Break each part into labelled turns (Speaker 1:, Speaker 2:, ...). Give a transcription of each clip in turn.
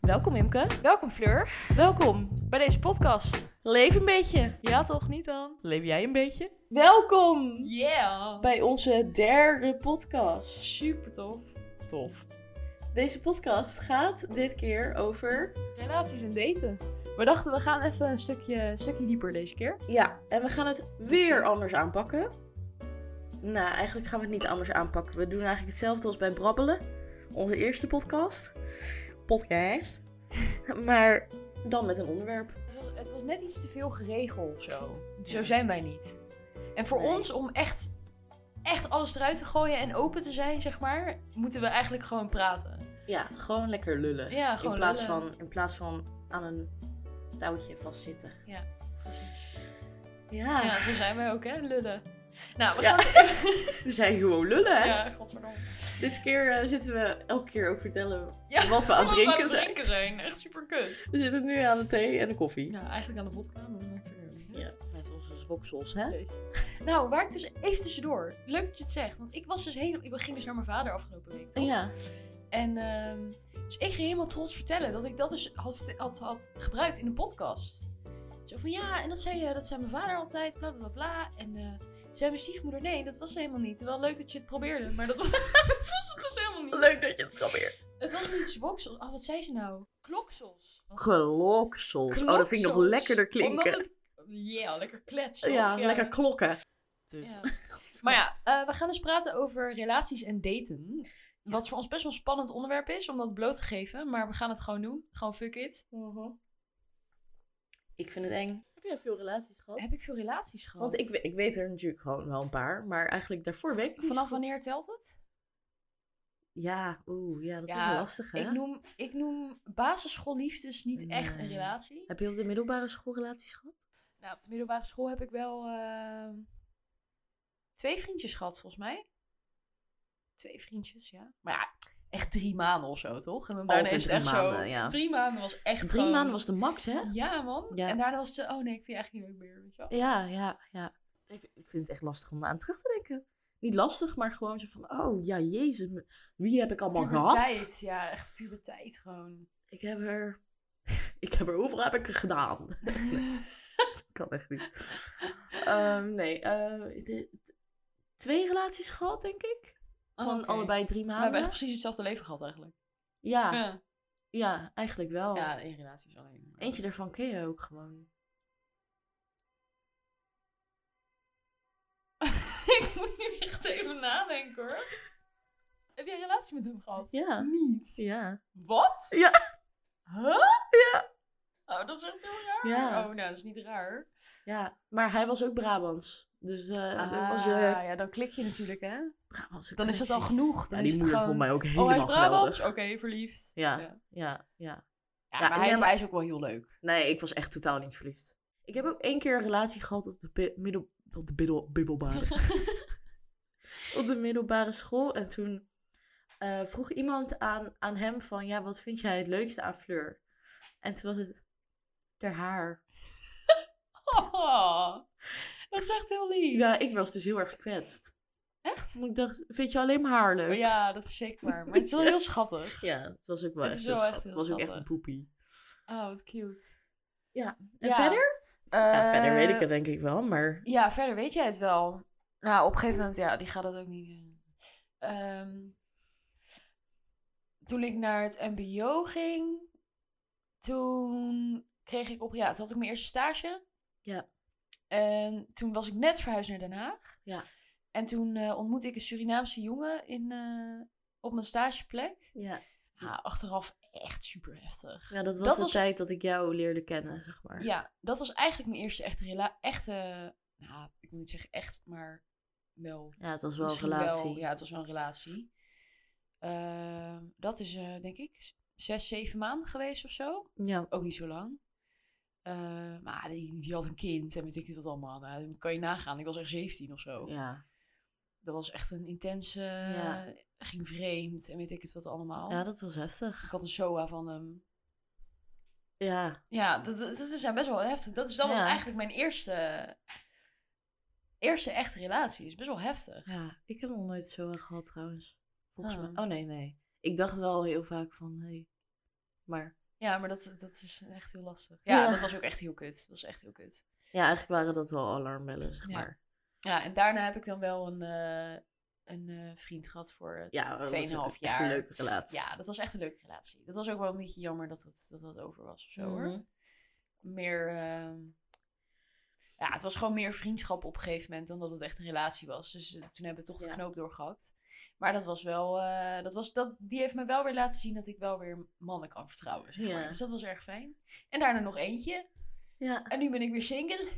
Speaker 1: Welkom Imke.
Speaker 2: Welkom Fleur,
Speaker 1: Welkom.
Speaker 2: bij deze podcast.
Speaker 1: Leef een beetje.
Speaker 2: Ja toch, niet dan?
Speaker 1: Leef jij een beetje? Welkom
Speaker 2: Yeah!
Speaker 1: bij onze derde podcast.
Speaker 2: Super tof.
Speaker 1: Tof. Deze podcast gaat dit keer over...
Speaker 2: Relaties en daten. We dachten we gaan even een stukje, een stukje dieper deze keer.
Speaker 1: Ja, en we gaan het weer anders aanpakken. Nou, eigenlijk gaan we het niet anders aanpakken. We doen eigenlijk hetzelfde als bij Brabbelen. Onze eerste podcast. Podcast. Maar dan met een onderwerp.
Speaker 2: Het was, het was net iets te veel geregeld of zo. Zo zijn wij niet. En voor
Speaker 1: Nee.
Speaker 2: ons om echt, echt alles eruit te gooien en open te zijn, zeg maar, moeten we eigenlijk gewoon praten.
Speaker 1: Ja, gewoon lekker lullen.
Speaker 2: Ja, gewoon
Speaker 1: in, plaats
Speaker 2: lullen.
Speaker 1: Van, in plaats van aan een touwtje vastzitten.
Speaker 2: Precies.
Speaker 1: Ja,
Speaker 2: Ja, zo zijn wij ook hè, lullen. Nou, we
Speaker 1: Ja.
Speaker 2: gaan...
Speaker 1: we zijn gewoon lullen. hè?
Speaker 2: Ja, godverdomme.
Speaker 1: Dit keer eh, zitten we elke keer ook vertellen wat we aan
Speaker 2: Ja,
Speaker 1: het
Speaker 2: Wat we aan
Speaker 1: drinken
Speaker 2: het
Speaker 1: zijn.
Speaker 2: drinken zijn. Echt super kut.
Speaker 1: We zitten nu aan de thee en de koffie.
Speaker 2: Ja, eigenlijk aan de vodka, maar dat maakt weer-
Speaker 1: Ja, met onze zwoksels, hè?
Speaker 2: Nou, waar ik dus even tussendoor. Leuk dat je het zegt. Want ik was dus helemaal. Ik ging dus naar mijn vader afgelopen week. Toch?
Speaker 1: Ja.
Speaker 2: En ehm, dus ik ging helemaal trots vertellen dat ik dat dus had, verte- had, had gebruikt in de podcast. Zo van ja, en dat zei, eh, dat zei mijn vader altijd, bla bla bla. bla. En eh zei mijn stiefmoeder, nee, dat was ze helemaal niet. Wel leuk dat je het probeerde, maar dat was, dat was het dus helemaal niet.
Speaker 1: Leuk dat je het probeert.
Speaker 2: Het was niet zwoksels. Oh, wat zei ze nou? Kloksels. was het.
Speaker 1: Kloksels. Oh, dat vind ik nog
Speaker 2: Kloksels.
Speaker 1: lekkerder klinken.
Speaker 2: Omdat het, ja, Dus- lekker klets. toch?
Speaker 1: Ja, lekker klokken.
Speaker 2: Ja. Maar ja, eh, we gaan dus praten over relaties en daten. Wat voor ons best wel een spannend onderwerp is om dat bloot te geven. Maar we gaan het gewoon doen. Gewoon fuck it.
Speaker 1: Mhm. Ik vind het eng. Heb jij veel relaties gehad?
Speaker 2: Heb ik veel relaties gehad?
Speaker 1: Want ik, we- ik weet er natuurlijk gewoon wel een paar, maar eigenlijk daarvoor weet ik niet
Speaker 2: Vanaf
Speaker 1: zo goed.
Speaker 2: wanneer telt het?
Speaker 1: Ja, oeh, ja, dat
Speaker 2: Ja,
Speaker 1: is lastig, hè?
Speaker 2: Ik noem, ik noem basisschoolliefdes niet echt een
Speaker 1: Nee.
Speaker 2: relatie.
Speaker 1: Heb je op de middelbare school relaties gehad?
Speaker 2: Nou, op de middelbare school heb ik wel eh, twee vriendjes gehad, volgens mij. Twee vriendjes, ja. Maar ja, echt drie maanden of zo, toch? En dan daarna
Speaker 1: Altijd
Speaker 2: is het echt
Speaker 1: drie
Speaker 2: zo.
Speaker 1: maanden, ja.
Speaker 2: Drie maanden was echt
Speaker 1: Drie
Speaker 2: gewoon-
Speaker 1: maanden was de max, hè?
Speaker 2: Ja, man.
Speaker 1: Ja.
Speaker 2: En daarna was het, oh nee, ik vind je eigenlijk niet leuk meer. Weet je wel.
Speaker 1: Ja, ja, ja. Ik, ik vind het echt lastig om aan terug te denken. Niet lastig, maar gewoon zo van, oh ja, jezus, m- wie heb ik allemaal gehad?
Speaker 2: Puberteit, ja, echt puberteit gewoon.
Speaker 1: Ik heb er, ik heb er, hoeveel heb ik er gedaan? kan echt niet. Ehm, nee, eh, de- t- twee relaties gehad, denk ik. Van
Speaker 2: Oh, Oké.
Speaker 1: allebei drie
Speaker 2: We hebben
Speaker 1: maanden.
Speaker 2: echt precies hetzelfde leven gehad eigenlijk.
Speaker 1: Ja,
Speaker 2: Ja,
Speaker 1: ja, eigenlijk wel.
Speaker 2: ja in relaties alleen. maar-
Speaker 1: Eentje daarvan ken je ook gewoon.
Speaker 2: ik moet nu echt even nadenken hoor. Heb jij een relatie met hem gehad?
Speaker 1: Ja.
Speaker 2: Niet.
Speaker 1: Ja.
Speaker 2: Wat?
Speaker 1: Ja.
Speaker 2: Huh?
Speaker 1: Ja.
Speaker 2: Oh, dat is echt heel raar.
Speaker 1: Ja.
Speaker 2: Oh, nou, dat is niet raar.
Speaker 1: Ja, maar hij was ook Brabants. Dus eh dat was eh,
Speaker 2: ja, dan klik je natuurlijk, hè?
Speaker 1: Brabantse
Speaker 2: Ah. Dan is dat al
Speaker 1: connectie.
Speaker 2: genoeg. Dan
Speaker 1: Ja,
Speaker 2: is
Speaker 1: die
Speaker 2: het
Speaker 1: moeder vond
Speaker 2: gewoon...
Speaker 1: mij ook
Speaker 2: Oh, hij
Speaker 1: helemaal
Speaker 2: is Brabants?
Speaker 1: geweldig.
Speaker 2: Oké, verliefd.
Speaker 1: Ja.
Speaker 2: ja.
Speaker 1: Ja, ja.
Speaker 2: Ja,
Speaker 1: Ja,
Speaker 2: maar hij,
Speaker 1: ja,
Speaker 2: is,
Speaker 1: maar-
Speaker 2: hij is ook wel heel leuk.
Speaker 1: Nee, ik was echt totaal niet verliefd. Ik heb ook één keer een relatie gehad op de, bi- middel, op de biddel, bibbelbare. op de middelbare school. En toen eh, vroeg iemand aan, aan hem van, ja, wat vind jij het leukste aan Fleur? En toen was het, haar haar.
Speaker 2: dat is echt heel lief.
Speaker 1: Ja, ik was dus heel erg gekwetst.
Speaker 2: Echt?
Speaker 1: Want ik dacht, vind je alleen maar haar leuk?
Speaker 2: Ja, dat is zeker waar. Maar het is wel heel schattig.
Speaker 1: Ja, het was ook wel
Speaker 2: Het
Speaker 1: echt
Speaker 2: is
Speaker 1: heel
Speaker 2: wel echt
Speaker 1: schattig.
Speaker 2: heel
Speaker 1: Het was ook echt een
Speaker 2: schattig.
Speaker 1: poepie.
Speaker 2: Oh, wat cute.
Speaker 1: En
Speaker 2: Ja.
Speaker 1: verder?
Speaker 2: Eh,
Speaker 1: Ja, verder weet ik het denk ik wel, maar...
Speaker 2: Ja, verder weet jij het wel. Nou, op een gegeven moment, ja, die gaat dat ook niet doen. Ehm, toen ik naar het mbo ging, toen kreeg ik op... Ja, toen had ik mijn eerste stage.
Speaker 1: Ja.
Speaker 2: En toen was ik net verhuisd naar Den Haag.
Speaker 1: Ja.
Speaker 2: En toen eh, ontmoette ik een Surinaamse jongen in, eh, op mijn stageplek.
Speaker 1: Ja.
Speaker 2: Ja, achteraf echt super heftig.
Speaker 1: Ja, dat was
Speaker 2: Dat
Speaker 1: de
Speaker 2: was-
Speaker 1: tijd dat ik jou leerde kennen, zeg maar.
Speaker 2: Ja, dat was eigenlijk mijn eerste echte rela echte, nou, ik wil niet zeggen echt, maar wel.
Speaker 1: Ja, het was wel een
Speaker 2: misschien
Speaker 1: relatie.
Speaker 2: wel- ja, het was wel een relatie. Ehm, dat is eh, denk ik z- zes, zeven maanden geweest of zo.
Speaker 1: Ja.
Speaker 2: Ook niet zo lang. Ehm, maar die, die had een kind en weet ik niet wat allemaal. Nou, dan kan je nagaan. Ik was echt 17 of zo.
Speaker 1: Ja.
Speaker 2: Dat was echt een intense.
Speaker 1: Ja.
Speaker 2: Ging vreemd en weet ik het wat allemaal.
Speaker 1: ja, dat was heftig.
Speaker 2: Ik had een SOA van hem.
Speaker 1: Ja.
Speaker 2: Ja, dat, dat, dat zijn best wel heftig. Dat, is, dat was
Speaker 1: Ja.
Speaker 2: eigenlijk mijn eerste, eerste echte relatie. Is best wel heftig.
Speaker 1: ja. Ik heb nog nooit zo erg gehad trouwens. Volgens
Speaker 2: Ah.
Speaker 1: mij. Oh nee, nee. Ik dacht wel heel vaak van, hé. Hey. Maar
Speaker 2: Ja, maar dat, dat is echt heel lastig. Ja,
Speaker 1: Ja.
Speaker 2: dat was ook echt heel kut. Dat was echt heel kut.
Speaker 1: Ja, eigenlijk waren dat wel alarmbellen, zeg
Speaker 2: Ja.
Speaker 1: maar.
Speaker 2: Ja, en daarna heb ik dan wel een, eh, een eh, vriend gehad voor eh,
Speaker 1: Ja, dat was ook
Speaker 2: 2,5
Speaker 1: echt
Speaker 2: jaar.
Speaker 1: een leuke relatie.
Speaker 2: Ja, dat was echt een leuke relatie. Dat was ook wel een beetje jammer dat het, dat, dat over was of zo
Speaker 1: Mhm.
Speaker 2: hoor. Meer, ehm, ja, het was gewoon meer vriendschap op een gegeven moment dan dat het echt een relatie was. Dus eh, toen hebben we toch de
Speaker 1: Ja.
Speaker 2: knoop doorgehakt. Maar dat was wel, eh, dat was, dat, die heeft me wel weer laten zien dat ik wel weer mannen kan vertrouwen. Zeg maar.
Speaker 1: Ja.
Speaker 2: Dus dat was erg fijn. En daarna nog eentje.
Speaker 1: Ja.
Speaker 2: En nu ben ik weer single.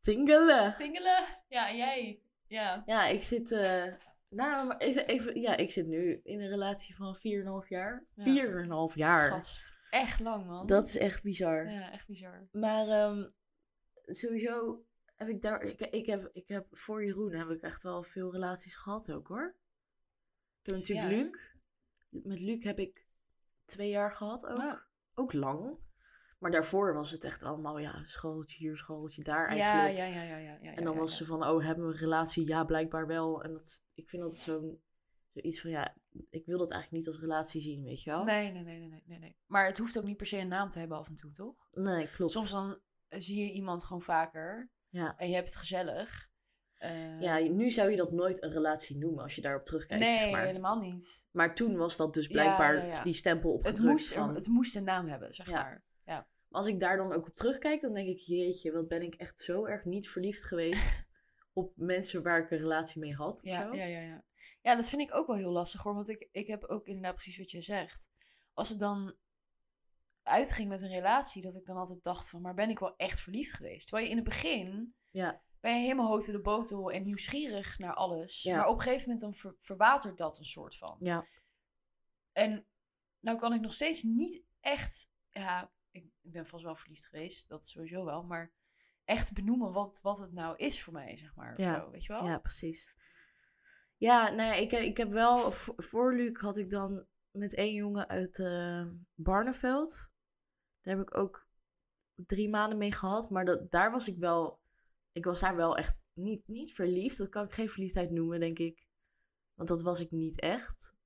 Speaker 1: Singelen.
Speaker 2: Singelen. Ja, en jij? Ja.
Speaker 1: Ja, ik zit. eh, nou, maar even, even. Ja, ik zit nu in een relatie van 4,5 jaar.
Speaker 2: Ja.
Speaker 1: 4,5 jaar.
Speaker 2: Gast. Echt lang, man.
Speaker 1: Dat is echt bizar.
Speaker 2: Ja, echt bizar.
Speaker 1: Maar ehm, sowieso heb ik daar. Ik, ik, heb, ik heb voor Jeroen heb ik echt wel veel relaties gehad ook hoor. Ik heb natuurlijk
Speaker 2: Ja.
Speaker 1: Luc. Met Luc heb ik twee jaar gehad ook.
Speaker 2: Nou.
Speaker 1: Ook lang. Maar daarvoor was het echt allemaal ja, schooltje hier, schooltje daar
Speaker 2: Ja,
Speaker 1: eigenlijk.
Speaker 2: ja, ja, ja, ja, ja.
Speaker 1: En dan
Speaker 2: ja,
Speaker 1: was
Speaker 2: ja.
Speaker 1: ze van, oh, hebben we een relatie? Ja, blijkbaar wel. En dat, ik vind dat zo'n, zoiets van, ja, ik wil dat eigenlijk niet als relatie zien, weet je wel?
Speaker 2: Nee, nee, nee, nee, nee, nee, nee. Maar het hoeft ook niet per se een naam te hebben af en toe, toch?
Speaker 1: Nee, klopt.
Speaker 2: Soms dan eh, zie je iemand gewoon vaker
Speaker 1: Ja.
Speaker 2: en je hebt het gezellig. Eh,
Speaker 1: Ja, nu zou je dat nooit een relatie noemen als je daarop terugkijkt,
Speaker 2: nee,
Speaker 1: zeg maar.
Speaker 2: helemaal niet.
Speaker 1: Maar toen was dat dus blijkbaar
Speaker 2: Ja, ja, ja.
Speaker 1: die stempel opgedrukt
Speaker 2: Het moest, er-
Speaker 1: van...
Speaker 2: het moest een naam hebben, zeg
Speaker 1: Ja.
Speaker 2: maar.
Speaker 1: Als ik daar dan ook op terugkijk, dan denk ik, jeetje, wat ben ik echt zo erg niet verliefd geweest op mensen waar ik een relatie mee had. of
Speaker 2: Ja,
Speaker 1: zo.
Speaker 2: ja, ja, ja. ja, dat vind ik ook wel heel lastig hoor. Want ik, ik heb ook inderdaad precies wat je zegt. Als het dan uitging met een relatie, dat ik dan altijd dacht van... maar ben ik wel echt verliefd geweest? Terwijl je in het begin
Speaker 1: Ja.
Speaker 2: ben je helemaal hoog in de botel... en nieuwsgierig naar alles.
Speaker 1: Ja.
Speaker 2: Maar op een gegeven moment dan ver- verwatert dat een soort van.
Speaker 1: Ja.
Speaker 2: En nou kan ik nog steeds niet echt... Ja, ik, ik ben vast wel verliefd geweest, dat sowieso wel. Maar echt benoemen wat, wat het nou is voor mij, zeg maar. of
Speaker 1: Ja.
Speaker 2: zo, weet je wel?
Speaker 1: Ja, precies. Ja, nou ja, ik, ik heb wel... vo- Voor Luc had ik dan met één jongen uit eh, Barneveld. Daar heb ik ook drie maanden mee gehad. Maar dat, daar was ik wel... Ik was daar wel echt niet, niet verliefd. Dat kan ik geen verliefdheid noemen, denk ik. Want dat was ik niet echt.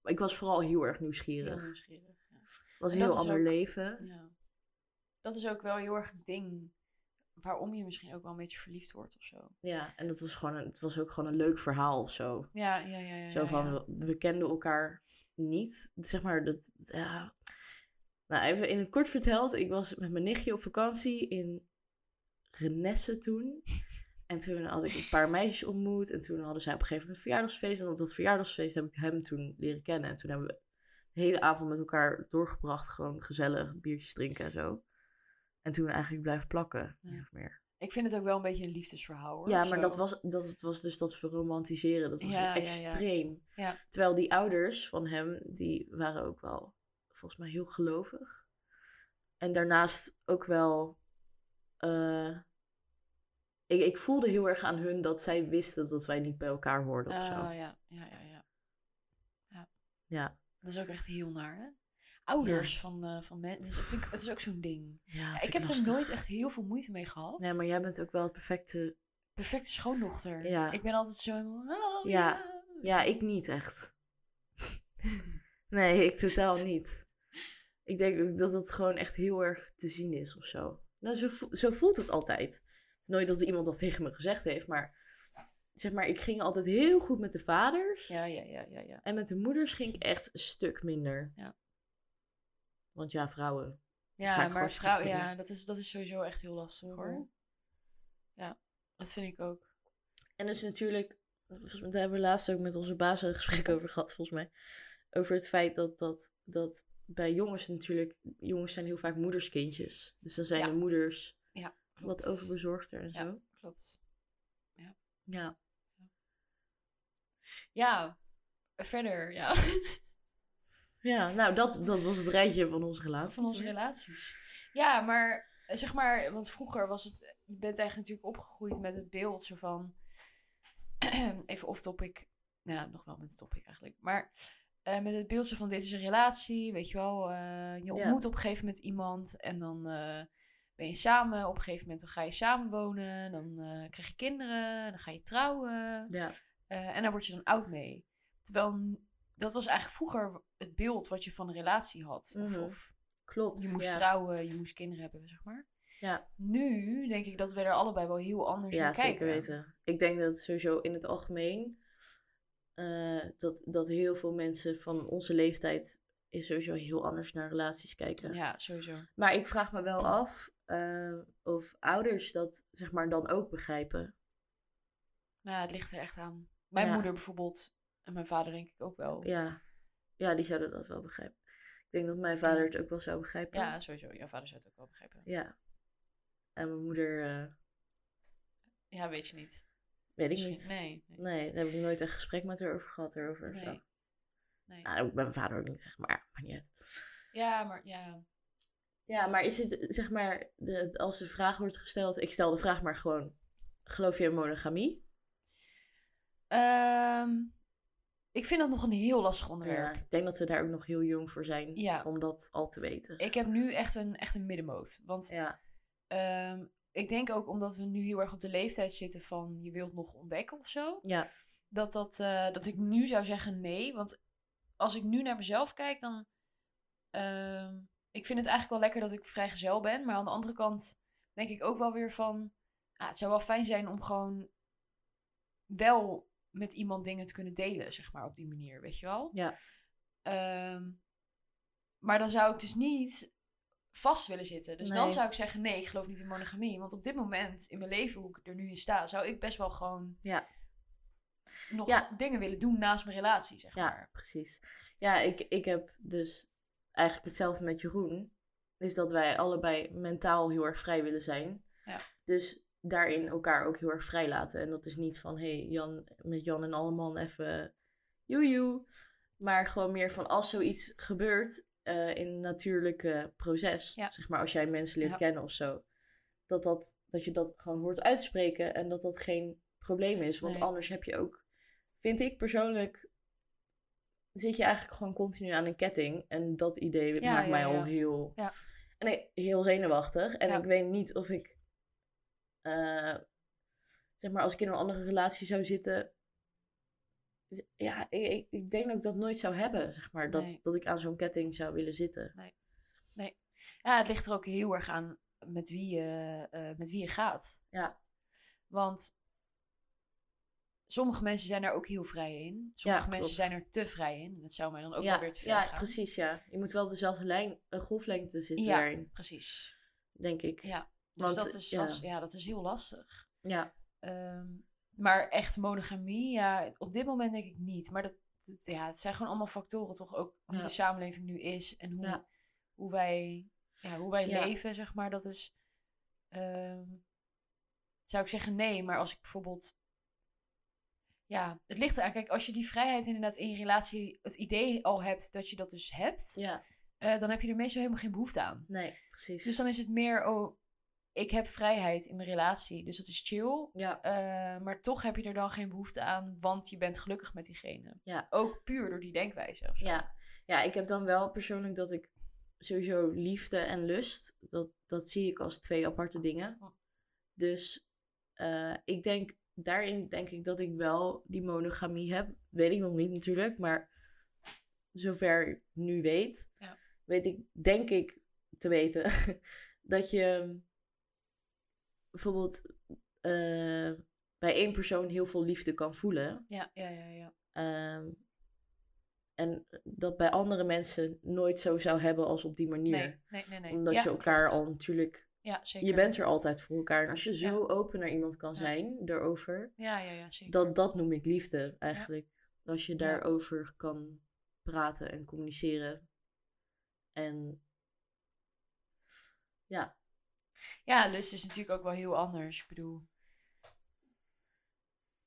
Speaker 1: Maar ik was vooral heel erg
Speaker 2: Heel
Speaker 1: nieuwsgierig.
Speaker 2: nieuwsgierig, ja.
Speaker 1: Het was een
Speaker 2: En dat
Speaker 1: heel
Speaker 2: is
Speaker 1: ander
Speaker 2: ook-
Speaker 1: leven.
Speaker 2: Ja. Dat is ook wel heel erg een ding waarom je misschien ook wel een beetje verliefd wordt of zo.
Speaker 1: Ja, en dat was gewoon een, het was ook gewoon een leuk verhaal of zo.
Speaker 2: Ja, ja, ja. ja
Speaker 1: Zo
Speaker 2: ja,
Speaker 1: van,
Speaker 2: ja.
Speaker 1: we, we kenden elkaar niet. Zeg maar, dat, ja. Nou, even in het kort verteld. Ik was met mijn nichtje op vakantie in Renesse toen. En toen had ik een paar meisjes ontmoet. En toen hadden zij op een gegeven moment een verjaardagsfeest. En op dat verjaardagsfeest heb ik hem toen leren kennen. En toen hebben we de hele avond met elkaar doorgebracht. Gewoon gezellig, biertjes drinken en zo. En toen eigenlijk blijven plakken,
Speaker 2: Ja.
Speaker 1: min of meer.
Speaker 2: Ik vind het ook wel een beetje een liefdesverhaal hoor.
Speaker 1: Ja,
Speaker 2: of
Speaker 1: maar
Speaker 2: zo.
Speaker 1: dat was, dat was dus dat verromantiseren. Dat was
Speaker 2: Ja, ja, ja.
Speaker 1: extreem.
Speaker 2: Ja.
Speaker 1: Terwijl die ouders van hem, die waren ook wel volgens mij heel gelovig. En daarnaast ook wel... eh, ik, ik voelde heel erg aan hun dat zij wisten dat wij niet bij elkaar hoorden of zo.
Speaker 2: Ah, ja, ja, ja, ja.
Speaker 1: Ja.
Speaker 2: Dat is ook echt heel naar, hè? Ouders van, eh, van mensen. Dus dat vind ik, het is ook zo'n ding.
Speaker 1: ja
Speaker 2: ik heb er nooit echt heel veel moeite mee gehad.
Speaker 1: Nee, maar jij bent ook wel het perfecte...
Speaker 2: Perfecte schoondochter.
Speaker 1: Ja.
Speaker 2: Ik ben altijd zo. helemaal, oh,
Speaker 1: Ja. Ja, ik niet echt. nee, ik totaal niet. Ik denk ook dat dat gewoon echt heel erg te zien is of zo. Nou, zo, vo- zo voelt het altijd. Het is nooit dat iemand dat tegen me gezegd heeft, maar zeg maar, ik ging altijd heel goed met de vaders.
Speaker 2: Ja, ja, ja, ja, ja.
Speaker 1: En met de moeders ging ik echt een stuk minder.
Speaker 2: Ja.
Speaker 1: Want ja, vrouwen. ga
Speaker 2: Ja,
Speaker 1: ik
Speaker 2: maar
Speaker 1: hartstikke
Speaker 2: vrouw,
Speaker 1: vinden.
Speaker 2: ja, dat is, dat is sowieso echt heel lastig hoor.
Speaker 1: Mhm.
Speaker 2: Ja, dat vind ik ook.
Speaker 1: En dus natuurlijk, volgens mij, daar hebben we laatst ook met onze baas een gesprek over gehad, volgens mij. Over het feit dat, dat, dat bij jongens natuurlijk, jongens zijn heel vaak moederskindjes. Dus dan zijn
Speaker 2: Ja.
Speaker 1: de moeders
Speaker 2: Klopt.
Speaker 1: wat overbezorgder en zo.
Speaker 2: Klopt.
Speaker 1: Ja.
Speaker 2: Ja, verder, ja.
Speaker 1: Ja, nou dat, dat was het rijtje van onze relatie.
Speaker 2: Van onze relaties. Ja, maar eh, zeg maar, want vroeger was het... Je bent eigenlijk natuurlijk opgegroeid met het beeld zo van... even off-topic. Nou, ja, nog wel met het topic eigenlijk. Maar eh, met het beeld zo van, dit is een relatie, weet je wel. eh, je ontmoet op een gegeven moment iemand en dan... eh, ben je samen, op een gegeven moment dan ga je samen wonen, dan eh, krijg je kinderen, dan ga je trouwen.
Speaker 1: Ja,
Speaker 2: Eh, en daar word je dan oud mee. Terwijl n- dat was eigenlijk vroeger het beeld wat je van een relatie had. Of,
Speaker 1: Mhm.
Speaker 2: of
Speaker 1: Klopt.
Speaker 2: je moest
Speaker 1: ja.
Speaker 2: trouwen, je moest kinderen hebben, zeg maar.
Speaker 1: Ja.
Speaker 2: Nu denk ik dat we er allebei wel heel anders
Speaker 1: Ja,
Speaker 2: naar
Speaker 1: zeker
Speaker 2: kijken.
Speaker 1: weten. Ik denk dat sowieso in het algemeen... eh, dat, dat heel veel mensen van onze leeftijd... is sowieso heel anders naar relaties kijken.
Speaker 2: Ja, sowieso.
Speaker 1: Maar ik vraag me wel af... eh, of ouders dat zeg maar dan ook begrijpen.
Speaker 2: Nou, het ligt er echt aan. Mijn
Speaker 1: Ja.
Speaker 2: moeder bijvoorbeeld, en mijn vader denk ik ook wel. Ja,
Speaker 1: Ja. ja, die zouden dat wel begrijpen. Ik denk dat mijn vader het ook wel zou begrijpen.
Speaker 2: sowieso. Jouw vader zou het ook wel begrijpen.
Speaker 1: Ja. En mijn moeder, eh,
Speaker 2: Ja, weet je niet.
Speaker 1: weet ik
Speaker 2: Misschien-
Speaker 1: niet.
Speaker 2: Nee. nee.
Speaker 1: Nee, daar heb ik nooit echt gesprek met haar over gehad. Erover, of
Speaker 2: Nee.
Speaker 1: zo.
Speaker 2: Nee.
Speaker 1: Nou, ook bij mijn vader ook niet echt, maar maar niet uit.
Speaker 2: Ja, maar ja.
Speaker 1: Ja, maar is het, zeg maar, de, als de vraag wordt gesteld... Ik stel de vraag maar gewoon, geloof je in monogamie?
Speaker 2: Ehm, ik vind dat nog een heel lastig onderwerp.
Speaker 1: Ja, ik denk dat we daar ook nog heel jong voor zijn
Speaker 2: Ja.
Speaker 1: om dat al te weten.
Speaker 2: Ik heb nu echt een, echt een middenmoot. Want
Speaker 1: Ja,
Speaker 2: ehm, ik denk ook omdat we nu heel erg op de leeftijd zitten van je wilt nog ontdekken of zo.
Speaker 1: ja,
Speaker 2: Dat, dat, eh, dat ik nu zou zeggen nee. Want als ik nu naar mezelf kijk, dan... ehm, ik vind het eigenlijk wel lekker dat ik vrijgezel ben. Maar aan de andere kant denk ik ook wel weer van... ah, het zou wel fijn zijn om gewoon wel met iemand dingen te kunnen delen, zeg maar, op die manier, weet je wel?
Speaker 1: ja,
Speaker 2: Ehm, maar dan zou ik dus niet vast willen zitten. Dus dan
Speaker 1: Nee.
Speaker 2: zou ik zeggen, nee, ik geloof niet in monogamie. Want op dit moment in mijn leven, hoe ik er nu in sta, zou ik best wel gewoon
Speaker 1: Ja.
Speaker 2: nog
Speaker 1: Ja.
Speaker 2: dingen willen doen naast mijn relatie, zeg
Speaker 1: ja,
Speaker 2: maar.
Speaker 1: precies. Ja, ik, ik heb dus eigenlijk hetzelfde met Jeroen. Is dat wij allebei mentaal heel erg vrij willen zijn.
Speaker 2: Ja.
Speaker 1: Dus daarin elkaar ook heel erg vrij laten. En dat is niet van, hé, hey, Jan, met Jan en Alleman even joejoe. Maar gewoon meer van, als zoiets gebeurt eh, in een natuurlijke proces.
Speaker 2: Ja.
Speaker 1: Zeg maar, als jij mensen leert
Speaker 2: Ja.
Speaker 1: kennen of zo. Dat, dat, dat je dat gewoon hoort uitspreken en dat dat geen probleem is. Want
Speaker 2: Nee.
Speaker 1: anders heb je ook, vind ik persoonlijk, zit je eigenlijk gewoon continu aan een ketting. En dat idee
Speaker 2: Ja,
Speaker 1: maakt
Speaker 2: ja,
Speaker 1: mij
Speaker 2: ja.
Speaker 1: al heel,
Speaker 2: Ja.
Speaker 1: en ik, heel zenuwachtig. En
Speaker 2: Ja.
Speaker 1: ik weet niet of ik, eh, zeg maar, als ik in een andere relatie zou zitten. z- Ja, ik, ik, ik denk dat ik dat nooit zou hebben, zeg maar. Dat,
Speaker 2: Nee.
Speaker 1: dat ik aan zo'n ketting zou willen zitten.
Speaker 2: Ja, het ligt er ook heel erg aan met wie je, eh, met wie je gaat.
Speaker 1: Ja.
Speaker 2: Want sommige mensen zijn er ook heel vrij in. Sommige mensen
Speaker 1: klopt.
Speaker 2: zijn er te vrij in. Dat zou mij dan ook wel
Speaker 1: ja,
Speaker 2: weer te ver
Speaker 1: ja
Speaker 2: gaan.
Speaker 1: precies, ja. Je moet wel op dezelfde lijn, een golflengte zitten
Speaker 2: Ja.
Speaker 1: daarin,
Speaker 2: Precies.
Speaker 1: denk ik.
Speaker 2: Ja. Dus
Speaker 1: Want,
Speaker 2: dat, is,
Speaker 1: ja.
Speaker 2: als- ja, dat is heel lastig.
Speaker 1: Ja,
Speaker 2: Ehm, maar echt monogamie, ja, op dit moment denk ik niet. Maar dat, dat- ja, het zijn gewoon allemaal factoren toch ook hoe
Speaker 1: Ja.
Speaker 2: de samenleving nu is en hoe,
Speaker 1: Ja.
Speaker 2: hoe wij, ja, hoe wij
Speaker 1: Ja.
Speaker 2: leven, zeg maar. Dat is, ehm, zou ik zeggen nee, maar als ik bijvoorbeeld, ja, het ligt eraan. Kijk, als je die vrijheid inderdaad in je relatie, het idee al hebt dat je dat dus hebt,
Speaker 1: ja,
Speaker 2: eh, dan heb je er meestal helemaal geen behoefte aan.
Speaker 1: nee, precies.
Speaker 2: Dus dan is het meer, oh, ik heb vrijheid in mijn relatie, dus dat is chill.
Speaker 1: ja,
Speaker 2: Eh, maar toch heb je er dan geen behoefte aan, want je bent gelukkig met diegene.
Speaker 1: Ja.
Speaker 2: Ook puur door die denkwijze. Of zo.
Speaker 1: ja. ja, ik heb dan wel persoonlijk dat ik sowieso liefde en lust, dat, dat zie ik als twee aparte dingen. Dus eh, ik denk, daarin denk ik dat ik wel die monogamie heb. Weet ik nog niet natuurlijk, maar zover ik nu weet,
Speaker 2: Ja.
Speaker 1: weet ik, denk ik te weten, dat je bijvoorbeeld eh, bij één persoon heel veel liefde kan voelen.
Speaker 2: Ja, ja, ja, ja.
Speaker 1: Ehm, en dat bij andere mensen nooit zo zou hebben als op die manier.
Speaker 2: Nee, nee, nee. nee.
Speaker 1: Omdat
Speaker 2: Ja,
Speaker 1: je elkaar
Speaker 2: klopt.
Speaker 1: al natuurlijk.
Speaker 2: Ja, zeker.
Speaker 1: Je bent er altijd voor elkaar. En als je
Speaker 2: Ja.
Speaker 1: zo open naar iemand kan
Speaker 2: Ja.
Speaker 1: zijn daarover,
Speaker 2: Ja, ja, ja, zeker.
Speaker 1: dat, dat noem ik liefde eigenlijk. Als je daarover kan praten en communiceren. En ja,
Speaker 2: Ja, lust is natuurlijk ook wel heel anders. Ik bedoel...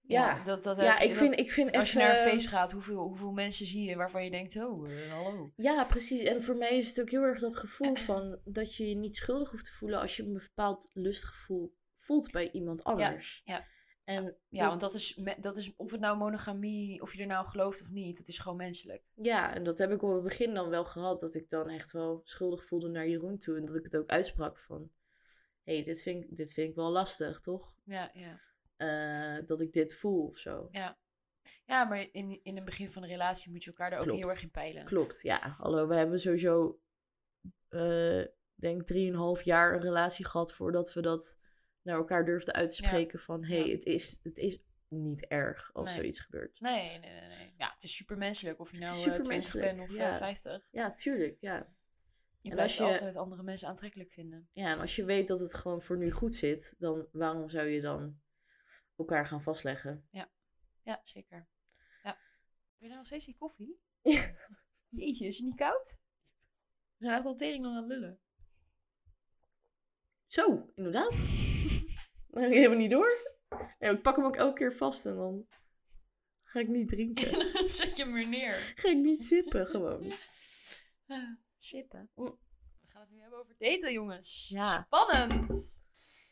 Speaker 1: Ja.
Speaker 2: dat, dat,
Speaker 1: ja
Speaker 2: heb-
Speaker 1: ik,
Speaker 2: dat-
Speaker 1: vind, ik vind echt.
Speaker 2: Als je naar een
Speaker 1: eh,
Speaker 2: feest gaat, hoeveel, hoeveel mensen zie je waarvan je denkt, oh, eh, hallo.
Speaker 1: Ja, precies. En voor mij is het ook heel erg dat gevoel van dat je je niet schuldig hoeft te voelen als je een bepaald lustgevoel voelt bij iemand anders.
Speaker 2: ja.
Speaker 1: En
Speaker 2: Ja,
Speaker 1: dat,
Speaker 2: want dat is, me- dat is, of het nou monogamie, of je er nou gelooft of niet, het is gewoon menselijk.
Speaker 1: ja, en dat heb ik op het begin dan wel gehad, dat ik dan echt wel schuldig voelde naar Jeroen toe. En dat ik het ook uitsprak van, hé, hey, dit, vind ik- dit vind ik wel lastig, toch?
Speaker 2: Ja, ja.
Speaker 1: Eh, dat ik dit voel of zo.
Speaker 2: Ja. Ja, maar in, in het begin van een relatie moet je elkaar daar ook
Speaker 1: Klopt.
Speaker 2: heel erg in peilen.
Speaker 1: Klopt, ja. Hallo, we hebben sowieso, eh denk ik, 3,5 jaar een relatie gehad voordat we dat naar elkaar durfden uit te
Speaker 2: Ja.
Speaker 1: spreken. Van hé, hey,
Speaker 2: Ja.
Speaker 1: het, is, het is niet erg als
Speaker 2: Nee.
Speaker 1: zoiets gebeurt.
Speaker 2: Nee, nee, nee, nee. Ja, het is supermenselijk of je
Speaker 1: Het is
Speaker 2: nou eh, 20
Speaker 1: supermenselijk,
Speaker 2: bent of
Speaker 1: ja.
Speaker 2: eh, 50.
Speaker 1: Ja, tuurlijk. Ja.
Speaker 2: Je
Speaker 1: En
Speaker 2: blijft
Speaker 1: als je-
Speaker 2: altijd andere mensen aantrekkelijk vinden.
Speaker 1: ja, en als je weet dat het gewoon voor nu goed zit, dan waarom zou je dan elkaar gaan vastleggen?
Speaker 2: Ja, zeker. Ja. Wil je nou nog steeds die koffie?
Speaker 1: Ja.
Speaker 2: Jeetje, is het niet koud? We zijn echt al tering dan aan het lullen.
Speaker 1: Zo, inderdaad. Dan heb ik helemaal niet door. Nee, ik pak hem ook elke keer vast en dan ga ik niet drinken.
Speaker 2: En dan zet je hem weer neer.
Speaker 1: Ga ik niet sippen, gewoon.
Speaker 2: Ah, Sippen.
Speaker 1: Mm.
Speaker 2: We gaan het nu hebben over daten, jongens.
Speaker 1: Ja.
Speaker 2: Spannend.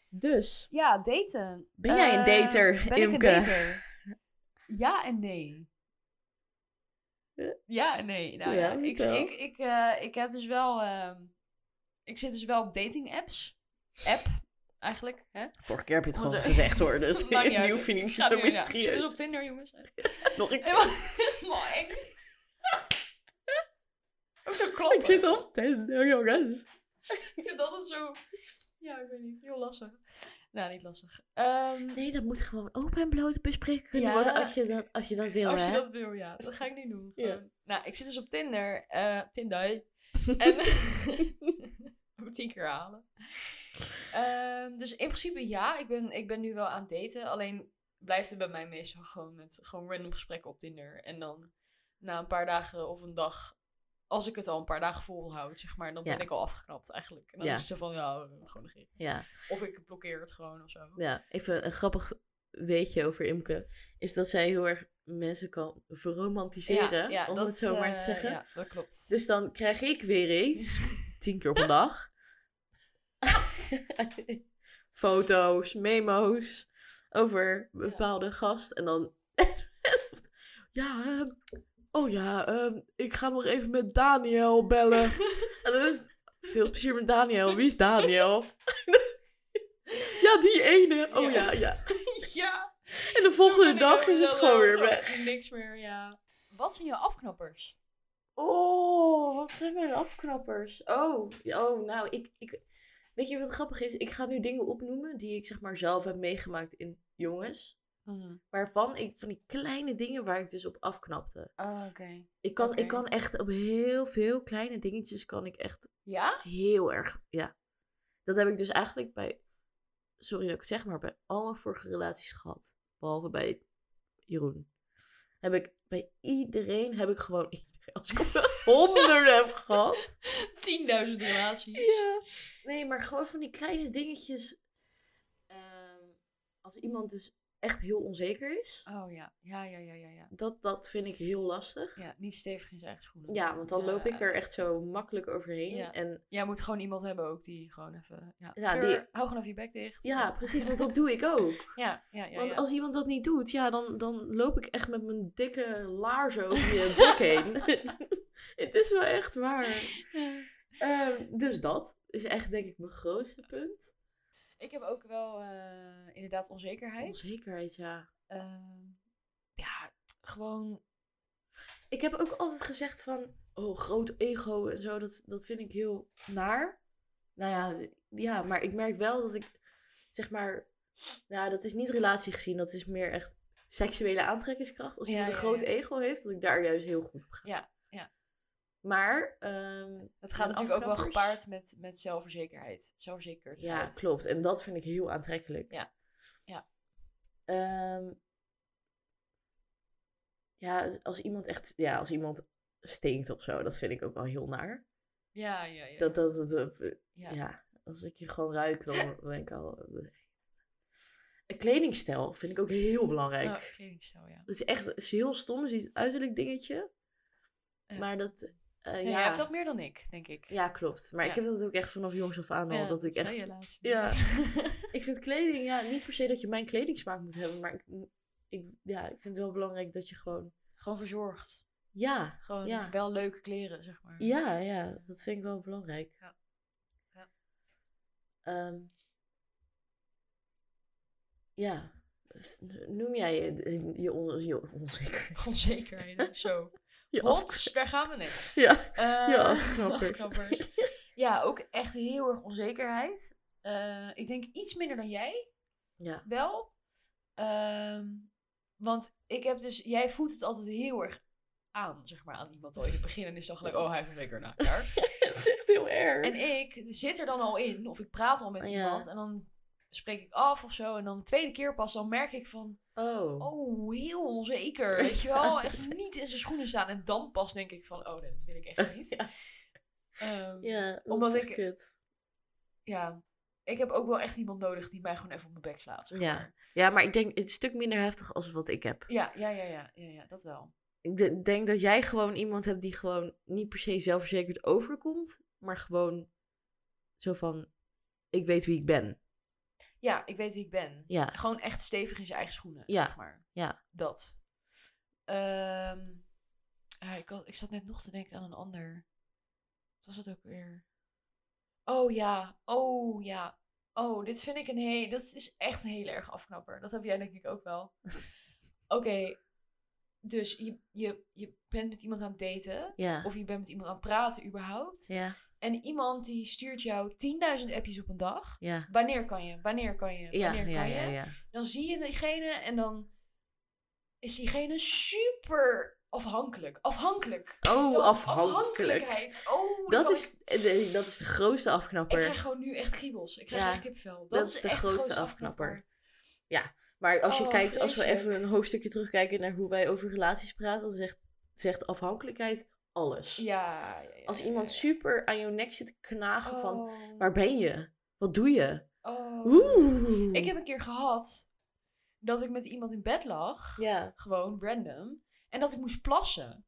Speaker 1: Dus,
Speaker 2: Ja, daten.
Speaker 1: Ben jij een
Speaker 2: Eh,
Speaker 1: dater,
Speaker 2: ben ik
Speaker 1: Imke?
Speaker 2: een dater? Ja en nee.
Speaker 1: Eh?
Speaker 2: Ja en nee. Nou,
Speaker 1: Ja,
Speaker 2: ja, Ik,
Speaker 1: vertel.
Speaker 2: ik, ik, eh, ik heb dus wel... ehm, ik zit dus wel op dating apps. App, eigenlijk. Hè?
Speaker 1: vorige keer heb je het
Speaker 2: Onze-
Speaker 1: gewoon gezegd hoor, dus
Speaker 2: Maakt niet
Speaker 1: nu
Speaker 2: uit.
Speaker 1: hoef je niet
Speaker 2: Ik ga
Speaker 1: zo
Speaker 2: het doen, ja. Ik zit
Speaker 1: mysterieus.
Speaker 2: dus op Tinder, jongens.
Speaker 1: Nog een keer.
Speaker 2: Helemaal eng. Ook zo kloppen.
Speaker 1: Ik zit op Tinder, jongens.
Speaker 2: Ik vind dat zo... Ja, ik weet niet. Heel lastig. Nou, niet lastig. Ehm,
Speaker 1: Nee, dat moet gewoon open en bloot bespreken kunnen
Speaker 2: Ja.
Speaker 1: worden als je dat, als je dat wil,
Speaker 2: Als je
Speaker 1: hè?
Speaker 2: dat wil, ja. Dat ga ik nu doen.
Speaker 1: Ja.
Speaker 2: Gewoon. Nou, ik zit dus op Tinder. eh, Tinder. en moet tien keer halen. Ehm, dus in principe ja, ik ben, ik ben nu wel aan het daten. Alleen blijft het bij mij meestal gewoon met gewoon random gesprekken op Tinder. En dan na een paar dagen of een dag, als ik het al een paar dagen volhoud, zeg maar, dan
Speaker 1: Ja.
Speaker 2: ben ik al afgeknapt eigenlijk. En dan
Speaker 1: Ja.
Speaker 2: is het zo van, ja, gewoon negeren.
Speaker 1: Ja,
Speaker 2: Of ik blokkeer het gewoon of zo.
Speaker 1: ja, even een grappig weetje over Imke. Is dat zij heel erg mensen kan verromantiseren, om het zo maar te
Speaker 2: eh,
Speaker 1: zeggen.
Speaker 2: Ja, dat klopt.
Speaker 1: Dus dan krijg ik weer eens, tien keer op een dag, foto's, memo's over een
Speaker 2: Ja.
Speaker 1: bepaalde gast. En dan, ja, ehm, oh ja, ehm, ik ga nog even met Daniel bellen. en dan is het, veel plezier met Daniel. Wie is Daniel? ja, die ene. Oh ja, ja.
Speaker 2: ja.
Speaker 1: En de volgende dag is het gewoon weer weg.
Speaker 2: Niks meer, ja. Wat zijn jouw afknappers?
Speaker 1: Oh, wat zijn mijn afknappers? Oh, oh nou, ik, ik. Weet je wat grappig is? Ik ga nu dingen opnoemen die ik zeg maar zelf heb meegemaakt in jongens. Oh, Waarvan ik van die kleine dingen waar ik dus op afknapte.
Speaker 2: Oh, oké.
Speaker 1: Ik kan,
Speaker 2: Oké.
Speaker 1: ik kan echt op heel veel kleine dingetjes kan ik echt
Speaker 2: Ja?
Speaker 1: heel erg. Ja. Dat heb ik dus eigenlijk bij. Sorry dat ik het zeg, maar bij alle vorige relaties gehad. Behalve bij Jeroen. Heb ik bij iedereen heb ik gewoon. Als ik er honderden heb gehad.
Speaker 2: 10.000 relaties.
Speaker 1: Ja. Nee, maar gewoon van die kleine dingetjes. ehm, als iemand dus echt heel onzeker is.
Speaker 2: Oh ja. Ja, ja, ja, ja, ja.
Speaker 1: Dat, dat vind ik heel lastig.
Speaker 2: Ja, niet stevig in zijn eigen schoenen.
Speaker 1: Ja, want dan
Speaker 2: Ja,
Speaker 1: loop ik er echt zo makkelijk overheen.
Speaker 2: Ja.
Speaker 1: En
Speaker 2: Jij moet gewoon iemand hebben ook die gewoon even... Ja,
Speaker 1: Ja,
Speaker 2: Fleur,
Speaker 1: die-
Speaker 2: hou gewoon even je bek dicht.
Speaker 1: ja, precies, want dat doe ik ook.
Speaker 2: Ja, ja, ja.
Speaker 1: Want
Speaker 2: ja.
Speaker 1: als iemand dat niet doet, ja, dan, dan loop ik echt met mijn dikke laars over je eh, bek heen. het is wel echt waar. Ehm, dus dat is echt, denk ik, mijn grootste punt.
Speaker 2: Ik heb ook wel eh, inderdaad onzekerheid.
Speaker 1: Onzekerheid, ja.
Speaker 2: Ehm, ja, gewoon...
Speaker 1: Ik heb ook altijd gezegd van, oh, groot ego en zo, dat, dat vind ik heel naar. Nou ja, ja, maar ik merk wel dat ik, zeg maar, nou, dat is niet relatie gezien, dat is meer echt seksuele aantrekkingskracht. Als
Speaker 2: Ja,
Speaker 1: iemand een
Speaker 2: ja,
Speaker 1: groot
Speaker 2: ja.
Speaker 1: ego heeft, dat ik daar juist heel goed op ga.
Speaker 2: Ja, ja.
Speaker 1: Maar, ehm,
Speaker 2: Het gaat
Speaker 1: En
Speaker 2: natuurlijk ook wel
Speaker 1: afknappers?
Speaker 2: gepaard met, met zelfverzekerheid.
Speaker 1: ja,
Speaker 2: Zelfverzekerdheid.
Speaker 1: klopt. En dat vind ik heel aantrekkelijk.
Speaker 2: Ja. Ja.
Speaker 1: Ehm, ja, als iemand echt, ja, als iemand stinkt of zo, dat vind ik ook wel heel naar.
Speaker 2: Ja, ja, ja.
Speaker 1: Dat, dat, dat, ja.
Speaker 2: Ja.
Speaker 1: als ik je gewoon ruik, dan ben ik al... eh, Een kledingstijl vind ik ook heel belangrijk.
Speaker 2: Oh, kledingstijl, ja.
Speaker 1: Dat is echt dat is heel stom, is iets uiterlijk dingetje.
Speaker 2: Ja.
Speaker 1: Maar dat... eh,
Speaker 2: Nee,
Speaker 1: ja,
Speaker 2: Jij hebt dat meer dan ik, denk ik.
Speaker 1: ja, klopt. Maar
Speaker 2: Ja.
Speaker 1: ik heb dat ook echt vanaf jongs af aan al.
Speaker 2: Ja,
Speaker 1: dat ik
Speaker 2: zei
Speaker 1: echt...
Speaker 2: je laatst.
Speaker 1: ja. Ik vind kleding, ja, niet per se dat je mijn kledingsmaak moet hebben. Maar ik, ik, ja, ik vind het wel belangrijk dat je gewoon...
Speaker 2: Gewoon verzorgd.
Speaker 1: Ja,
Speaker 2: Gewoon
Speaker 1: Ja.
Speaker 2: wel leuke kleren, zeg maar.
Speaker 1: Ja, ja, dat vind ik wel belangrijk.
Speaker 2: Ja. Ja.
Speaker 1: Ehm, ja, Noem jij je, je, on- je onzeker?
Speaker 2: Onzekerheden. Zo.
Speaker 1: Je
Speaker 2: Hots, daar gaan we net.
Speaker 1: af- Ja,
Speaker 2: Eh,
Speaker 1: je afknappers.
Speaker 2: afknappers. ja, ook echt heel erg onzekerheid. Eh, ik denk iets minder dan jij
Speaker 1: ja.
Speaker 2: wel. Ehm, want ik heb dus, jij voelt het altijd heel erg aan, zeg maar, aan iemand al in het begin. En is dan gelijk, oh, hij heeft zeker nou, klaar.
Speaker 1: Het is echt heel erg.
Speaker 2: En ik zit er dan al in, of ik praat al met
Speaker 1: Oh, Ja.
Speaker 2: iemand. En dan spreek ik af of zo. En dan de tweede keer pas, dan merk ik van,
Speaker 1: oh.
Speaker 2: oh, heel onzeker. Weet je wel, echt niet in zijn schoenen staan. En dan pas denk ik van, oh, nee, dat wil ik echt niet.
Speaker 1: Ja.
Speaker 2: Ehm,
Speaker 1: Ja, dat
Speaker 2: Omdat
Speaker 1: is echt
Speaker 2: ik-
Speaker 1: kut.
Speaker 2: ja, ik heb ook wel echt iemand nodig die mij gewoon even op mijn bek slaat. zeg
Speaker 1: Ja.
Speaker 2: maar.
Speaker 1: Ja, maar ik denk het is een stuk minder heftig als wat ik heb.
Speaker 2: ja, ja, ja, ja, ja, ja, dat wel.
Speaker 1: Ik de- denk dat jij gewoon iemand hebt die gewoon niet per se zelfverzekerd overkomt, maar gewoon zo van, ik weet wie ik ben.
Speaker 2: Ja, ik weet wie ik ben.
Speaker 1: Ja,
Speaker 2: Gewoon echt stevig in zijn eigen schoenen,
Speaker 1: Ja,
Speaker 2: zeg maar.
Speaker 1: ja.
Speaker 2: Dat. Ehm, ah, ik, had- ik zat net nog te denken aan een ander. Wat was dat ook weer? Oh ja, oh ja. Oh, dit vind ik een heel... Dat is echt een heel erg afknapper. Dat heb jij denk ik ook wel. Oké, dus je, je, je bent met iemand aan het daten.
Speaker 1: ja,
Speaker 2: Of je bent met iemand aan het praten überhaupt.
Speaker 1: ja,
Speaker 2: En iemand die stuurt jou 10.000 appjes op een dag.
Speaker 1: ja,
Speaker 2: Wanneer kan je? Wanneer kan je?
Speaker 1: ja,
Speaker 2: Wanneer
Speaker 1: ja,
Speaker 2: kan je?
Speaker 1: ja, ja.
Speaker 2: dan zie je diegene en dan is diegene super afhankelijk. Afhankelijk.
Speaker 1: Oh,
Speaker 2: Dat
Speaker 1: afhankelijk.
Speaker 2: Afhankelijkheid. Oh,
Speaker 1: Dat
Speaker 2: dan-
Speaker 1: is, eh, dat is de grootste
Speaker 2: Ik
Speaker 1: afknapper.
Speaker 2: krijg gewoon nu echt kriebels. Ik krijg
Speaker 1: Ja,
Speaker 2: echt kipvel. Dat,
Speaker 1: dat
Speaker 2: is,
Speaker 1: is de
Speaker 2: echt de
Speaker 1: grootste
Speaker 2: grootste afknapper.
Speaker 1: afknapper. Maar als je
Speaker 2: Oh,
Speaker 1: kijkt, als we
Speaker 2: vreselijk.
Speaker 1: even een hoofdstukje terugkijken naar hoe wij over relaties praten, dan zegt, zegt afhankelijkheid alles.
Speaker 2: Ja, ja, ja,
Speaker 1: Als
Speaker 2: ja,
Speaker 1: iemand
Speaker 2: ja.
Speaker 1: super aan jouw nek zit te knagen van,
Speaker 2: Oh,
Speaker 1: waar ben je? Wat doe je?
Speaker 2: oh.
Speaker 1: Oeh.
Speaker 2: Ik heb een keer gehad dat ik met iemand in bed lag.
Speaker 1: Ja.
Speaker 2: Gewoon random. En dat ik moest plassen.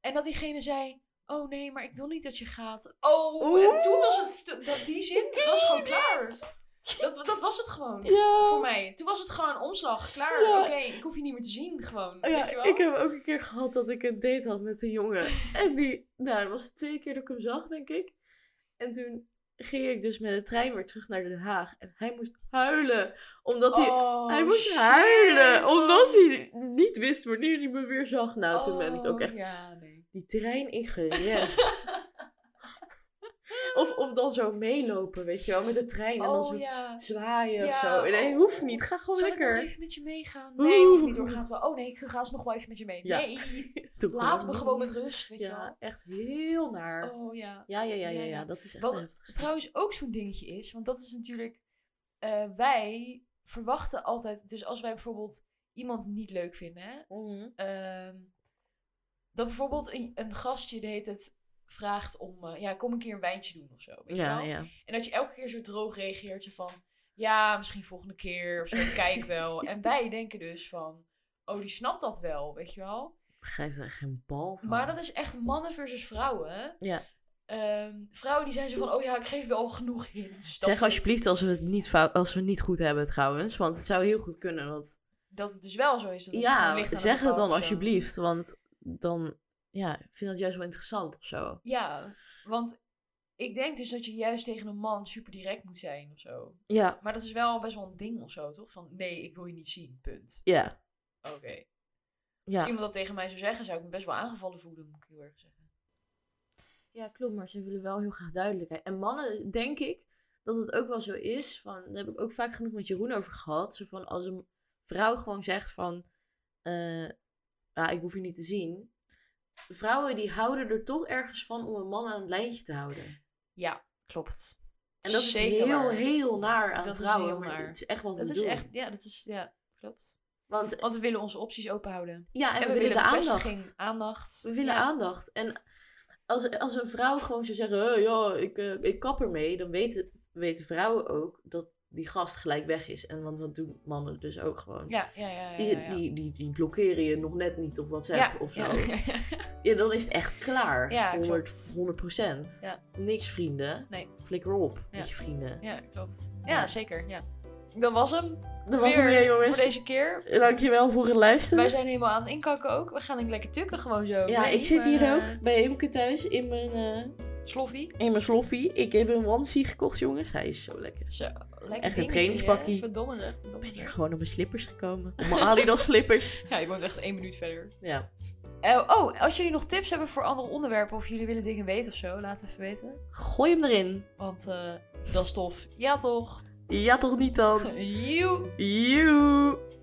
Speaker 2: En dat diegene zei: Oh nee, maar ik wil niet dat je gaat. Oh, en
Speaker 1: Oeh.
Speaker 2: toen was het. to- Dat, die zin
Speaker 1: doe
Speaker 2: was gewoon klaar. Dat, dat was het gewoon.
Speaker 1: Ja.
Speaker 2: Voor mij. Toen was het gewoon omslag. Klaar.
Speaker 1: Ja.
Speaker 2: Oké, ik hoef je niet meer te zien. Gewoon.
Speaker 1: Oh Ja,
Speaker 2: weet je wel?
Speaker 1: ik heb ook een keer gehad dat ik een date had met een jongen. En die, nou, dat was de tweede keer dat ik hem zag, denk ik. En toen ging ik dus met de trein weer terug naar Den Haag. En hij moest huilen. Omdat hij,
Speaker 2: Oh,
Speaker 1: hij moest
Speaker 2: shit, oh.
Speaker 1: huilen.
Speaker 2: man.
Speaker 1: Omdat hij niet wist wanneer hij me weer zag. Nou, toen ben ik ook
Speaker 2: Oh,
Speaker 1: echt
Speaker 2: Ja, nee.
Speaker 1: die trein ingerend. of, of dan zo meelopen, weet je wel, met de trein. En dan zo
Speaker 2: oh ja.
Speaker 1: zwaaien of
Speaker 2: Ja,
Speaker 1: zo. Nee,
Speaker 2: oh.
Speaker 1: hoeft niet. Ga gewoon
Speaker 2: Zal ik nog
Speaker 1: lekker.
Speaker 2: even met je meegaan? Nee,
Speaker 1: Oeh.
Speaker 2: hoeft niet hoor. Gaat wel. Oh nee, ik ga ze nog wel even met je mee.
Speaker 1: Ja.
Speaker 2: Nee.
Speaker 1: Doe
Speaker 2: Laat me gewoon met rust. Weet je wel.
Speaker 1: Ja, echt heel naar.
Speaker 2: Oh ja.
Speaker 1: Ja, ja, ja,
Speaker 2: Ja,
Speaker 1: ja,
Speaker 2: ja.
Speaker 1: ja, dat is echt
Speaker 2: Wat
Speaker 1: heftig.
Speaker 2: trouwens ook zo'n dingetje is, want dat is natuurlijk, eh, wij verwachten altijd, dus als wij bijvoorbeeld iemand niet leuk vinden,
Speaker 1: Mhm.
Speaker 2: ehm, dat bijvoorbeeld een, een gastje de hele tijd vraagt om, eh, ja, kom een keer een wijntje doen of zo. Weet je
Speaker 1: Ja,
Speaker 2: wel?
Speaker 1: ja.
Speaker 2: En dat je elke keer zo droog reageert, zo van, ja, misschien volgende keer of zo, kijk wel. En wij denken dus van, oh, die snapt dat wel, weet je wel.
Speaker 1: Begrijp er echt geen bal van.
Speaker 2: Maar dat is echt mannen versus vrouwen.
Speaker 1: Ja.
Speaker 2: Ehm, vrouwen die zijn zo van, oh ja, ik geef wel genoeg hints. dat
Speaker 1: Zeg
Speaker 2: het-
Speaker 1: alsjeblieft als we het niet fout, als we het niet goed hebben trouwens, want het zou heel goed kunnen. Want
Speaker 2: Dat het dus wel zo is. Dat het gewoon
Speaker 1: ja,
Speaker 2: ligt aan de eh.
Speaker 1: zeg het
Speaker 2: vrouw
Speaker 1: dan
Speaker 2: of zo.
Speaker 1: alsjeblieft, want dan ja, ik vind dat juist wel interessant of zo.
Speaker 2: Ja, want ik denk dus dat je juist tegen een man super direct moet zijn of zo.
Speaker 1: Ja,
Speaker 2: Maar dat is wel best wel een ding of zo, toch? Van nee, ik wil je niet zien, punt.
Speaker 1: ja,
Speaker 2: Oké. Als
Speaker 1: ja.
Speaker 2: iemand dat tegen mij zou zeggen, zou ik me best wel aangevallen voelen, moet ik heel erg zeggen.
Speaker 1: Ja, klopt, maar ze willen wel heel graag duidelijkheid. En mannen, denk ik, dat het ook wel zo is. Van, daar heb ik ook vaak genoeg met Jeroen over gehad. Zo van, als een vrouw gewoon zegt van, eh, ja, ik hoef je niet te zien. Vrouwen die houden er toch ergens van om een man aan het lijntje te houden.
Speaker 2: Ja, klopt.
Speaker 1: En dat is
Speaker 2: Zeker
Speaker 1: heel,
Speaker 2: waar.
Speaker 1: heel naar aan
Speaker 2: Dat is
Speaker 1: vrouwen.
Speaker 2: heel
Speaker 1: maar
Speaker 2: naar.
Speaker 1: het is echt wat
Speaker 2: Dat
Speaker 1: we
Speaker 2: is
Speaker 1: doen.
Speaker 2: echt, ja, dat is, ja, klopt.
Speaker 1: Want
Speaker 2: Want we willen onze opties open houden.
Speaker 1: ja, en,
Speaker 2: En
Speaker 1: we, willen de
Speaker 2: bevestiging,
Speaker 1: aandacht.
Speaker 2: aandacht.
Speaker 1: We willen
Speaker 2: Ja. aandacht.
Speaker 1: aandacht. En als, als een vrouw gewoon zou zeggen, "Hey, ja, ik, eh, ik kap ermee, dan weten, weten vrouwen ook dat die gast gelijk weg is. En want dat doen mannen dus ook gewoon.
Speaker 2: Ja, ja, ja. ja,
Speaker 1: Die,
Speaker 2: ja, ja.
Speaker 1: Die, die, die blokkeren je nog net niet op WhatsApp
Speaker 2: Ja,
Speaker 1: of zo.
Speaker 2: ja,
Speaker 1: Ja.
Speaker 2: ja.
Speaker 1: dan is het echt klaar.
Speaker 2: Ja,
Speaker 1: 100,
Speaker 2: klopt.
Speaker 1: 100 procent.
Speaker 2: Ja.
Speaker 1: Niks vrienden.
Speaker 2: Nee.
Speaker 1: Flikker op
Speaker 2: Ja.
Speaker 1: met je vrienden.
Speaker 2: Ja, klopt. Ja,
Speaker 1: Ja.
Speaker 2: zeker. Ja. Dat was hem.
Speaker 1: Dat was hem weer, jongens.
Speaker 2: Voor deze keer.
Speaker 1: Dankjewel voor het luisteren.
Speaker 2: Wij zijn helemaal aan het inkakken ook. We gaan denk ik lekker tukken gewoon zo.
Speaker 1: Ja,
Speaker 2: Nee,
Speaker 1: ik zit hier
Speaker 2: maar-
Speaker 1: ook bij Imke thuis in mijn eh,
Speaker 2: Sloffie.
Speaker 1: In mijn sloffie. Ik heb een onesie gekocht, jongens. Hij is zo lekker.
Speaker 2: Zo, lekker
Speaker 1: Echt een
Speaker 2: dingetje,
Speaker 1: trainingspakkie.
Speaker 2: hè? Verdomme zeg.
Speaker 1: Ik
Speaker 2: verdomme
Speaker 1: ben hier
Speaker 2: zeg.
Speaker 1: gewoon op mijn slippers gekomen. Op mijn Adidas slippers.
Speaker 2: Ja, je woont echt één minuut verder.
Speaker 1: Ja.
Speaker 2: Eh, oh, als jullie nog tips hebben voor andere onderwerpen of jullie willen dingen weten of zo, laat het even weten.
Speaker 1: Gooi hem erin.
Speaker 2: Want eh, dat is tof. Ja toch?
Speaker 1: Ja, toch niet dan?
Speaker 2: Joe.
Speaker 1: Joe.